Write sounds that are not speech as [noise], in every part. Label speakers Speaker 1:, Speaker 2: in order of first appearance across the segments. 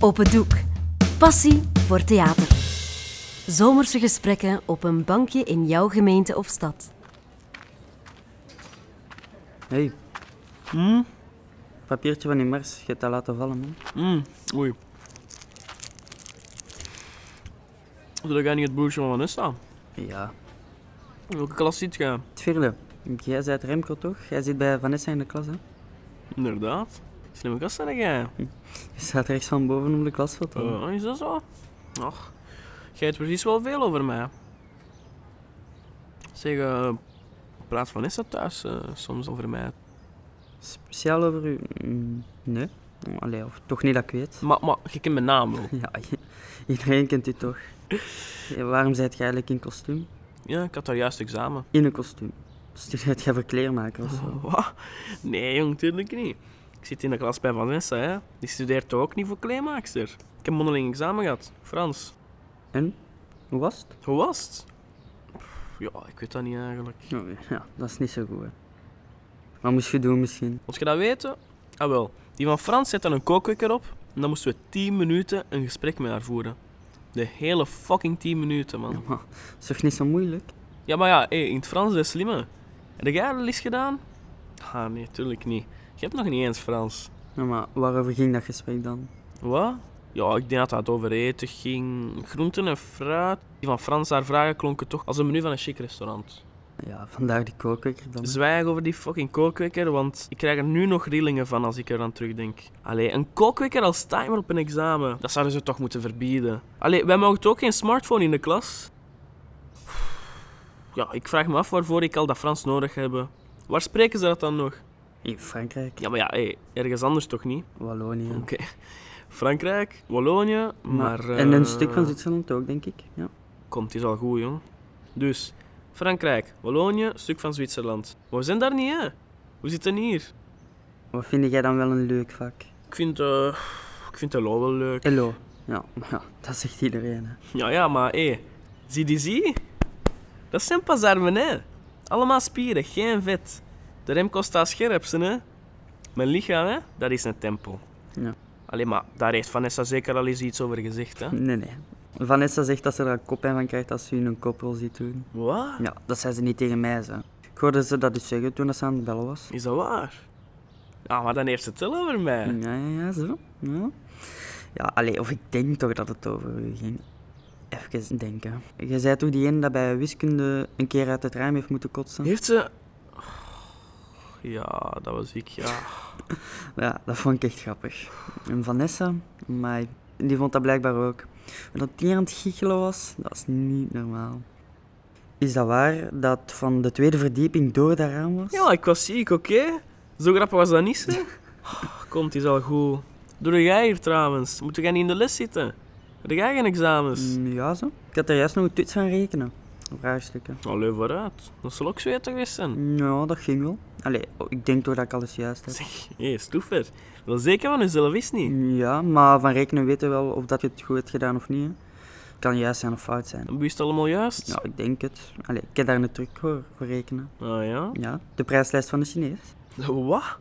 Speaker 1: Op het doek. Passie voor theater. Zomerse gesprekken op een bankje in jouw gemeente of stad.
Speaker 2: Hey. Hmm? Papiertje van die mars, je hebt dat laten vallen, man.
Speaker 3: Mm, oei. Zullen jij niet het broertje van Vanessa?
Speaker 2: Ja.
Speaker 3: Welke klas zit jij?
Speaker 2: Het vierde. Jij bent Remco, toch? Jij zit bij Vanessa in de klas, hè?
Speaker 3: Inderdaad. Slimme klas zijn jij.
Speaker 2: Je staat rechts van boven op de klasfoto.
Speaker 3: Eh, is dat zo? Ach, jij weet precies wel veel over mij. Zeg, eh, praat Vanessa thuis eh, soms over mij?
Speaker 2: Speciaal over u? Mm, Nee. Oh, Allee, of toch niet dat ik weet. [laughs]
Speaker 3: Maar, maar je kent mijn naam wel.
Speaker 2: Ja, [laughs] iedereen kent u toch? Ja, waarom zijt jij eigenlijk in kostuum?
Speaker 3: Ja, ik had daar juist examen. [laughs]
Speaker 2: In een kostuum. Dus Studeert jij voor kleermaker
Speaker 3: Oh.
Speaker 2: of zo?
Speaker 3: Wat? Nee, jong, tuurlijk niet. Ik zit in de klas bij Vanessa, hè. Die studeert toch ook niet voor kleemaakster. Ik heb mondeling examen gehad, Frans.
Speaker 2: En? Hoe was het?
Speaker 3: Hoe was het? Pff, Ja, ik weet dat niet eigenlijk.
Speaker 2: Oh, ja, dat is niet zo goed, hè. Wat moest je doen misschien?
Speaker 3: Moest je dat weten? Ah wel, die van Frans zet dan een kookwekker op en dan moesten we 10 minuten een gesprek met haar voeren. De hele fucking 10 minuten, man.
Speaker 2: Maar, dat is toch niet zo moeilijk?
Speaker 3: Ja, maar ja, hé, in het Frans is dat slimme. Heb jij dat al eens gedaan? Ah, nee, tuurlijk niet. Je hebt nog niet eens Frans.
Speaker 2: Ja, maar waarover ging dat gesprek dan?
Speaker 3: Wat? Ja, ik denk dat het over eten ging. Groenten en fruit. Die van Frans haar vragen klonken toch als een menu van een chic restaurant.
Speaker 2: Ja, vandaar die kookwekker dan.
Speaker 3: Zwijg over die fucking kookwekker, want ik krijg er nu nog rillingen van als ik er aan terugdenk. Allee, een kookwekker als timer op een examen. Dat zouden ze toch moeten verbieden. Allee, wij mogen toch ook geen smartphone in de klas? Ja, ik vraag me af waarvoor ik al dat Frans nodig heb. Waar spreken ze dat dan nog?
Speaker 2: In Frankrijk,
Speaker 3: Ja, maar ja, hé, ergens anders toch niet?
Speaker 2: Wallonië.
Speaker 3: Oké. Frankrijk, Wallonië, maar...
Speaker 2: En een
Speaker 3: eh,
Speaker 2: stuk van Zwitserland ook, denk ik. Ja.
Speaker 3: Komt, is al goed, jong. Dus, Frankrijk, Wallonië, stuk van Zwitserland. Maar we zijn daar niet, hè? We zitten hier.
Speaker 2: Wat vind jij dan wel een leuk vak?
Speaker 3: Ik vind, eh ik vind de law wel leuk.
Speaker 2: Hello. Ja, maar ja, dat zegt iedereen. Hè.
Speaker 3: Ja, ja, maar hé. Zie die, zie? Dat zijn pas armen, hè. Allemaal spieren, geen vet. De Remco staat scherpsen, hè. Mijn lichaam, hè, dat is een tempel.
Speaker 2: Ja.
Speaker 3: Allee, maar daar heeft Vanessa zeker al eens iets over gezegd, hè.
Speaker 2: Nee, nee. Vanessa zegt dat ze er een koppijn van krijgt als ze u in een koprol ziet doen.
Speaker 3: Wat?
Speaker 2: Ja, dat zei ze niet tegen mij, ze. Ik hoorde ze dat dus zeggen toen ze aan het bellen was.
Speaker 3: Is dat waar? Ah, maar dan heeft ze het wel over mij.
Speaker 2: Ja, ja, ja, zo. Ja, ja allee, of ik denk toch dat het over u ging. Even denken. Je zei toch die ene dat bij wiskunde een keer uit het raam heeft moeten kotsen?
Speaker 3: Heeft ze... Ja, dat was ik, ja.
Speaker 2: Ja, dat vond ik echt grappig. En Vanessa, maar die vond dat blijkbaar ook. En dat die aan het giechelen was, dat is niet normaal. Is dat waar dat van de tweede verdieping door dat raam was?
Speaker 3: Ja, ik was ziek, oké? Zo grappig was dat niet, zeg. Komt, is al goed. Doe jij hier trouwens? Moet jij niet in de les zitten? Heb jij geen examens?
Speaker 2: Mm, Ja, zo. Ik had er juist nog een toets van rekenen. Vraagstukken.
Speaker 3: Allee, vooruit. Dat zal ook zweet geweest zijn.
Speaker 2: Ja, dat ging wel. Allee, oh, ik denk toch dat ik alles juist heb.
Speaker 3: Zeg, hé, stoefer. Wel zeker van jezelf is
Speaker 2: Mm.
Speaker 3: niet.
Speaker 2: Ja, maar van rekenen weten we wel of dat je het goed hebt gedaan of niet. hè. Het kan juist zijn of fout zijn.
Speaker 3: Dan wist het allemaal juist.
Speaker 2: Ja, ik denk het. Allee, ik heb daar een truc voor, voor rekenen.
Speaker 3: Ah ja?
Speaker 2: Ja, de prijslijst van de Chinees.
Speaker 3: Wat?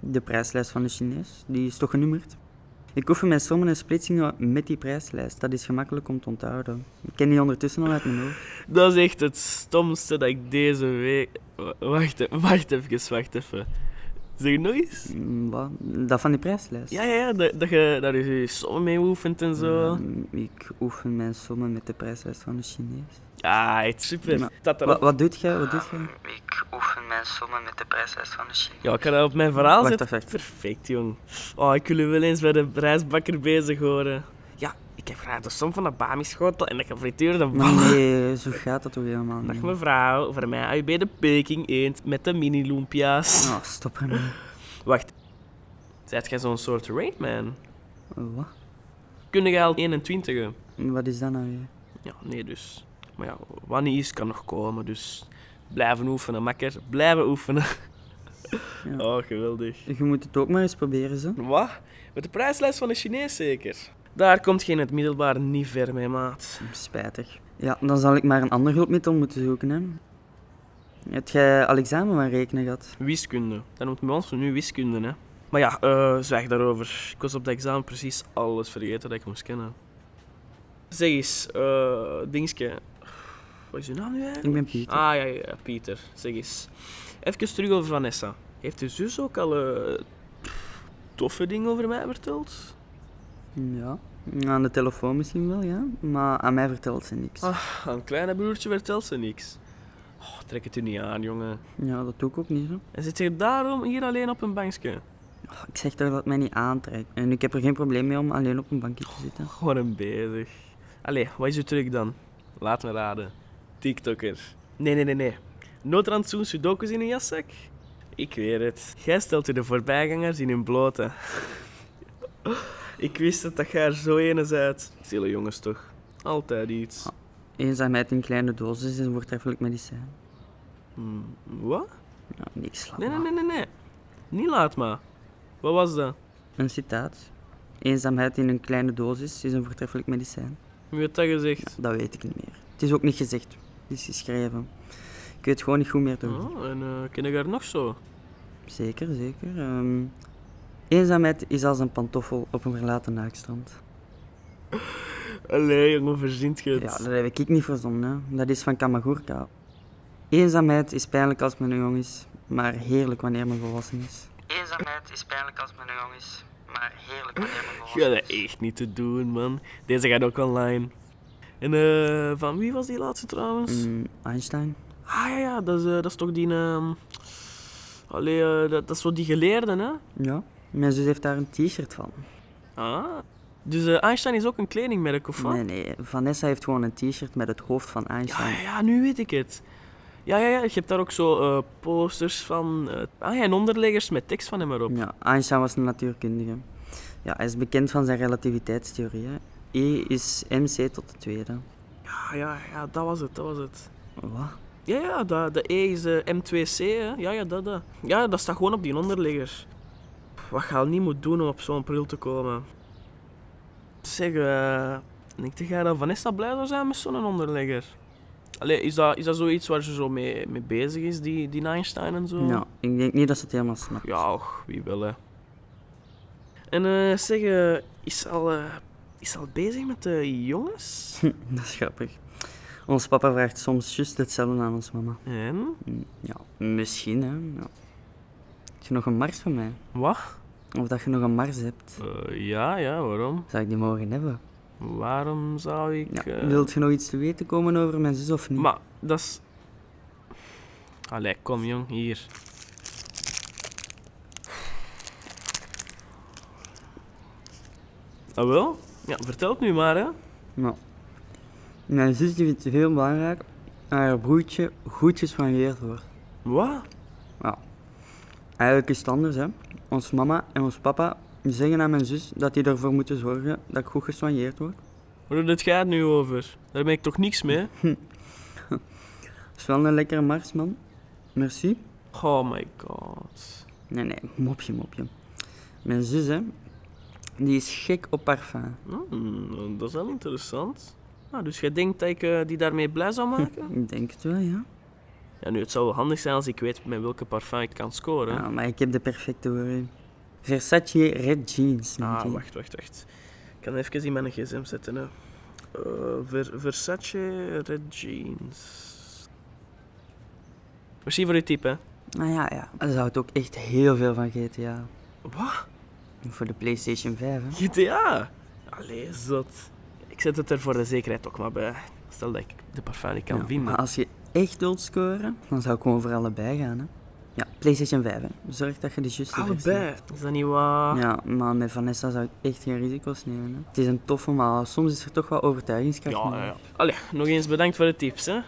Speaker 2: De prijslijst van de Chinees, die is toch genummerd? Ik oefen mijn sommen en splitsingen met die prijslijst. Dat is gemakkelijk om te onthouden. Ik ken die ondertussen al uit mijn hoofd.
Speaker 3: Dat is echt het stomste dat ik deze week... Wa- Wacht, e- wacht even, wacht even. Zeg nog eens?
Speaker 2: Mm, Wat? Dat van die prijslijst?
Speaker 3: Ja, ja, ja, dat, dat je daar je sommen mee oefent en zo.
Speaker 2: Mm, Ik oefen mijn sommen met de prijslijst van de Chinees.
Speaker 3: Ja, het Ah, super.
Speaker 2: Maar-
Speaker 3: Dat erop.
Speaker 2: Wat, wat doet jij? Wat doet jij?
Speaker 4: Ah, Ik oefen mijn sommen met de prijslijst van de Chinees.
Speaker 3: Ja, ik kan dat op mijn verhaal
Speaker 2: Wacht,
Speaker 3: zetten.
Speaker 2: wacht, wacht.
Speaker 3: Perfect, jong. Oh, ik wil u wel eens bij de reisbakker bezig horen. Ja, ik heb graag de som van de bamischotel en de gefrituurde
Speaker 2: Maar
Speaker 3: bal.
Speaker 2: nee, zo gaat dat toch helemaal
Speaker 3: Dag
Speaker 2: niet?
Speaker 3: mevrouw, voor mij AUB de Peking eend met de mini-loempia's.
Speaker 2: Oh, stop ermee.
Speaker 3: Wacht, zijt jij zo'n soort raidman?
Speaker 2: Wat?
Speaker 3: Kun jij al 21?
Speaker 2: Wat is dat nou weer?
Speaker 3: Ja, nee dus. Maar ja, wat niet is, kan nog komen, dus... Blijven oefenen, makker. Blijven oefenen.
Speaker 2: Ja.
Speaker 3: Oh, geweldig.
Speaker 2: Je moet het ook maar eens proberen, zo.
Speaker 3: Wat? Met de prijslijst van de Chinees zeker? Daar komt geen het middelbaar niet ver mee, maat.
Speaker 2: Spijtig. Ja, dan zal ik maar een ander hulpmiddel moeten zoeken, hè. Heb jij al examen van rekenen gehad?
Speaker 3: Wiskunde. Dat noemt bij ons nu wiskunde, hè. Maar ja, eh zwijg daarover. Ik was op dat examen precies alles vergeten dat ik moest kennen. Zeg eens, eh dingetje. Wat is uw naam nu eigenlijk?
Speaker 2: Ik ben Pieter.
Speaker 3: Ah ja, ja, ja, Pieter. Zeg eens. Even terug over Vanessa. Heeft uw zus ook al eh, toffe dingen over mij verteld?
Speaker 2: Ja. Aan de telefoon misschien wel, ja. Maar aan mij vertelt ze niks.
Speaker 3: Ah, aan het kleine broertje vertelt ze niks. Oh, trek het u niet aan, jongen.
Speaker 2: Ja, dat doe ik ook niet zo.
Speaker 3: En zit je daarom hier alleen op een bankje?
Speaker 2: Oh, ik zeg toch dat het mij niet aantrekt. En ik heb er geen probleem mee om alleen op een bankje te zitten.
Speaker 3: Gewoon een bezig. Allee, wat is uw truc dan? Laat me raden. TikToker. Nee, nee, nee, nee. Noodrandsoen sudokus in een jaszak? Ik weet het. Jij stelt u de voorbijgangers in hun blote. Ik wist het dat jij er zo ene zijt. Zille jongens toch. Ah. Altijd iets.
Speaker 2: Eenzaamheid in kleine doses is een voortreffelijk medicijn.
Speaker 3: Hmm, wat?
Speaker 2: Ja, niks laat
Speaker 3: Nee, nee,
Speaker 2: maar.
Speaker 3: nee, nee, nee. Niet laat maar. Wat was dat?
Speaker 2: Een citaat. Eenzaamheid in een kleine dosis is een voortreffelijk medicijn.
Speaker 3: Wie heeft dat gezegd?
Speaker 2: Dat weet ik niet meer. Het is ook niet gezegd. Het is geschreven. Ik weet gewoon niet goed meer door.
Speaker 3: Oh, en eh ken ik haar nog zo?
Speaker 2: Zeker, zeker. Ehm, eenzaamheid is als een pantoffel op een verlaten naakstrand.
Speaker 3: Allee, jongen, verzint je het?
Speaker 2: Ja, dat heb ik niet verzonnen. hè. Dat is van Kamagurka. Eenzaamheid is pijnlijk als men jong is, maar heerlijk wanneer men volwassen is.
Speaker 4: Eenzaamheid is pijnlijk als men jong is, maar heerlijk wanneer men
Speaker 3: Ja,
Speaker 4: volwassen
Speaker 3: dat
Speaker 4: is.
Speaker 3: echt niet te doen, man. Deze gaat ook online. En eh, van wie was die laatste trouwens?
Speaker 2: Mm, Einstein?
Speaker 3: Ah ja, ja dat, is, eh, dat is toch die. ehm, Allee, eh, dat, dat is zo die geleerde, hè?
Speaker 2: Ja. Mijn zus heeft daar een t-shirt van.
Speaker 3: Ah. Dus eh, Einstein is ook een kledingmerk of wat?
Speaker 2: Nee, nee. Vanessa heeft gewoon een t-shirt met het hoofd van
Speaker 3: Ja,
Speaker 2: Einstein.
Speaker 3: ja, ja, nu weet ik het. Ja, ja, ja, je hebt daar ook zo eh, posters van. eh, ah ja, en onderleggers met tekst van hem erop.
Speaker 2: Ja, Einstein was een natuurkundige. Ja, hij is bekend van zijn relativiteitstheorie. Hè. E is mc tot de tweede.
Speaker 3: Ja, ja, ja, dat was het, dat was het.
Speaker 2: Wat?
Speaker 3: Ja, ja, dat, de E is eh, M2C, hè. Ja, ja, dat, dat. Ja, dat staat gewoon op die onderligger. Pff, Wat je al niet moet doen om op zo'n pril te komen. Zeg, eh, denk je dat Vanessa blij zou zijn met zo'n onderligger? Allee, is dat, is dat zoiets waar ze zo mee, mee bezig is, die, die Einstein en zo?
Speaker 2: Ja, ik denk niet dat ze het helemaal snapt.
Speaker 3: Ja, och, wie wil, hè. En eh, zeg, eh, is ze al, eh, is ze al bezig met de jongens?
Speaker 2: [laughs] Dat is grappig. Ons papa vraagt soms juist hetzelfde aan ons mama.
Speaker 3: en?
Speaker 2: Mm, Ja, misschien hè. Ja. Heb je nog een mars van mij?
Speaker 3: Wat?
Speaker 2: Of dat je nog een mars hebt?
Speaker 3: Eh, ja, ja, waarom?
Speaker 2: Zou ik die mogen hebben?
Speaker 3: Waarom zou
Speaker 2: Ja.
Speaker 3: ik. eh,
Speaker 2: Wilt je nog iets te weten komen over mijn zus of niet?
Speaker 3: Maar dat is. Allee, kom jong, hier. Ah wel? Ja, vertel het nu maar hè.
Speaker 2: Nou, Mijn zus die vindt het heel belangrijk dat haar broertje goed gespanjeerd wordt.
Speaker 3: Wat?
Speaker 2: Ja. Eigenlijk is het anders hè. Ons mama en ons papa zeggen aan mijn zus dat die ervoor moeten zorgen dat ik goed gespanjeerd word.
Speaker 3: Waar doet jij het nu over? Daar ben ik toch niks mee?
Speaker 2: Dat is wel een lekkere mars man. Merci.
Speaker 3: Oh my god.
Speaker 2: Nee, nee, mopje, mopje. Mijn zus, hè, die is gek op parfum.
Speaker 3: Hmm, dat is wel interessant. Nou, dus jij denkt dat ik eh, die daarmee blij zou
Speaker 2: [laughs]
Speaker 3: maken?
Speaker 2: Ik denk het wel, ja.
Speaker 3: Ja, nu, het zou wel handig zijn als ik weet met welke parfum ik kan scoren.
Speaker 2: Ja, Ah, maar ik heb de perfecte voor u. Versace Red Jeans. noemt
Speaker 3: Ah,
Speaker 2: die.
Speaker 3: wacht, wacht, wacht. Ik kan even in mijn gsm zetten. Hè. Eh, Ver- Versace Red Jeans. Misschien voor je type, hè?
Speaker 2: Ah ja, ja. Daar zou het ook echt heel veel van GTA.
Speaker 3: Wat?
Speaker 2: Voor de PlayStation 5, hè.
Speaker 3: GTA? Allee, zot. Ik zet het er voor de zekerheid ook maar bij. Stel dat ik de parfum niet kan
Speaker 2: Ja,
Speaker 3: vinden.
Speaker 2: Maar als je echt wilt scoren, dan zou ik gewoon voor allebei gaan, hè. Ja, PlayStation 5, hè. Zorg dat je de juiste versie
Speaker 3: Allebei. Ah.
Speaker 2: hebt.
Speaker 3: Is dat niet waar?
Speaker 2: Ja, maar met Vanessa zou ik echt geen risico's nemen. Hè. Het is een toffe, maar soms is er toch wel overtuigingskracht
Speaker 3: Ja,
Speaker 2: nodig.
Speaker 3: ja, ja. Allee, nog eens bedankt voor de tips, hè.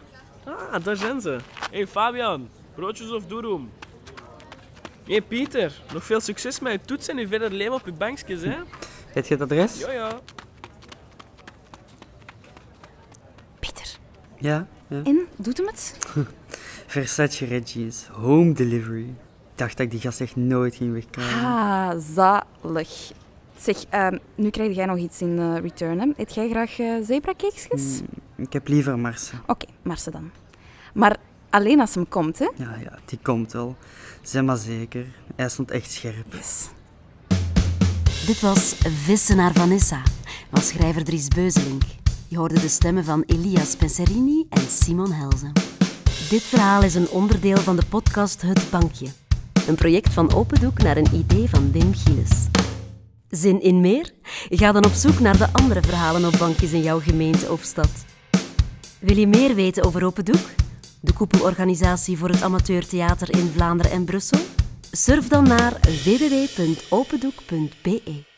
Speaker 3: Ah, daar zijn ze. hey, Fabian. Broodjes of doeroem? hey, Pieter. Nog veel succes met je toets en je verder leven op je bankjes, [laughs] hè.
Speaker 2: Heb je het adres?
Speaker 3: Ja, ja.
Speaker 1: Pieter,
Speaker 2: Ja, ja.
Speaker 1: en doet hem het?
Speaker 2: Versace Reggie's Home Delivery. Ik dacht dat ik die gast echt nooit ging wegkrijgen.
Speaker 5: Ah, zalig. Zeg, ehm, nu krijg jij nog iets in eh, return. Hè? Eet jij graag eh zebrakeksjes?
Speaker 1: Hmm.
Speaker 2: Ik heb liever Marsen.
Speaker 5: Oké, maar ze dan. Maar alleen als hem komt, hè?
Speaker 2: Ja, ja, die komt wel. Zeg maar zeker. Hij stond echt scherp.
Speaker 5: Yes.
Speaker 1: Dit was Vissen naar Vanessa van schrijver Dries Beuzelink. Je hoorde de stemmen van Elias Penserini en Simon Helzen. Dit verhaal is een onderdeel van de podcast Het Bankje. Een project van Opendoek naar een idee van Wim Gilles. Zin in meer? Ga dan op zoek naar de andere verhalen op bankjes in jouw gemeente of stad. Wil je meer weten over Open Doek? De koepelorganisatie voor het amateurtheater in Vlaanderen en Brussel? Surf dan naar www.opendoek.be.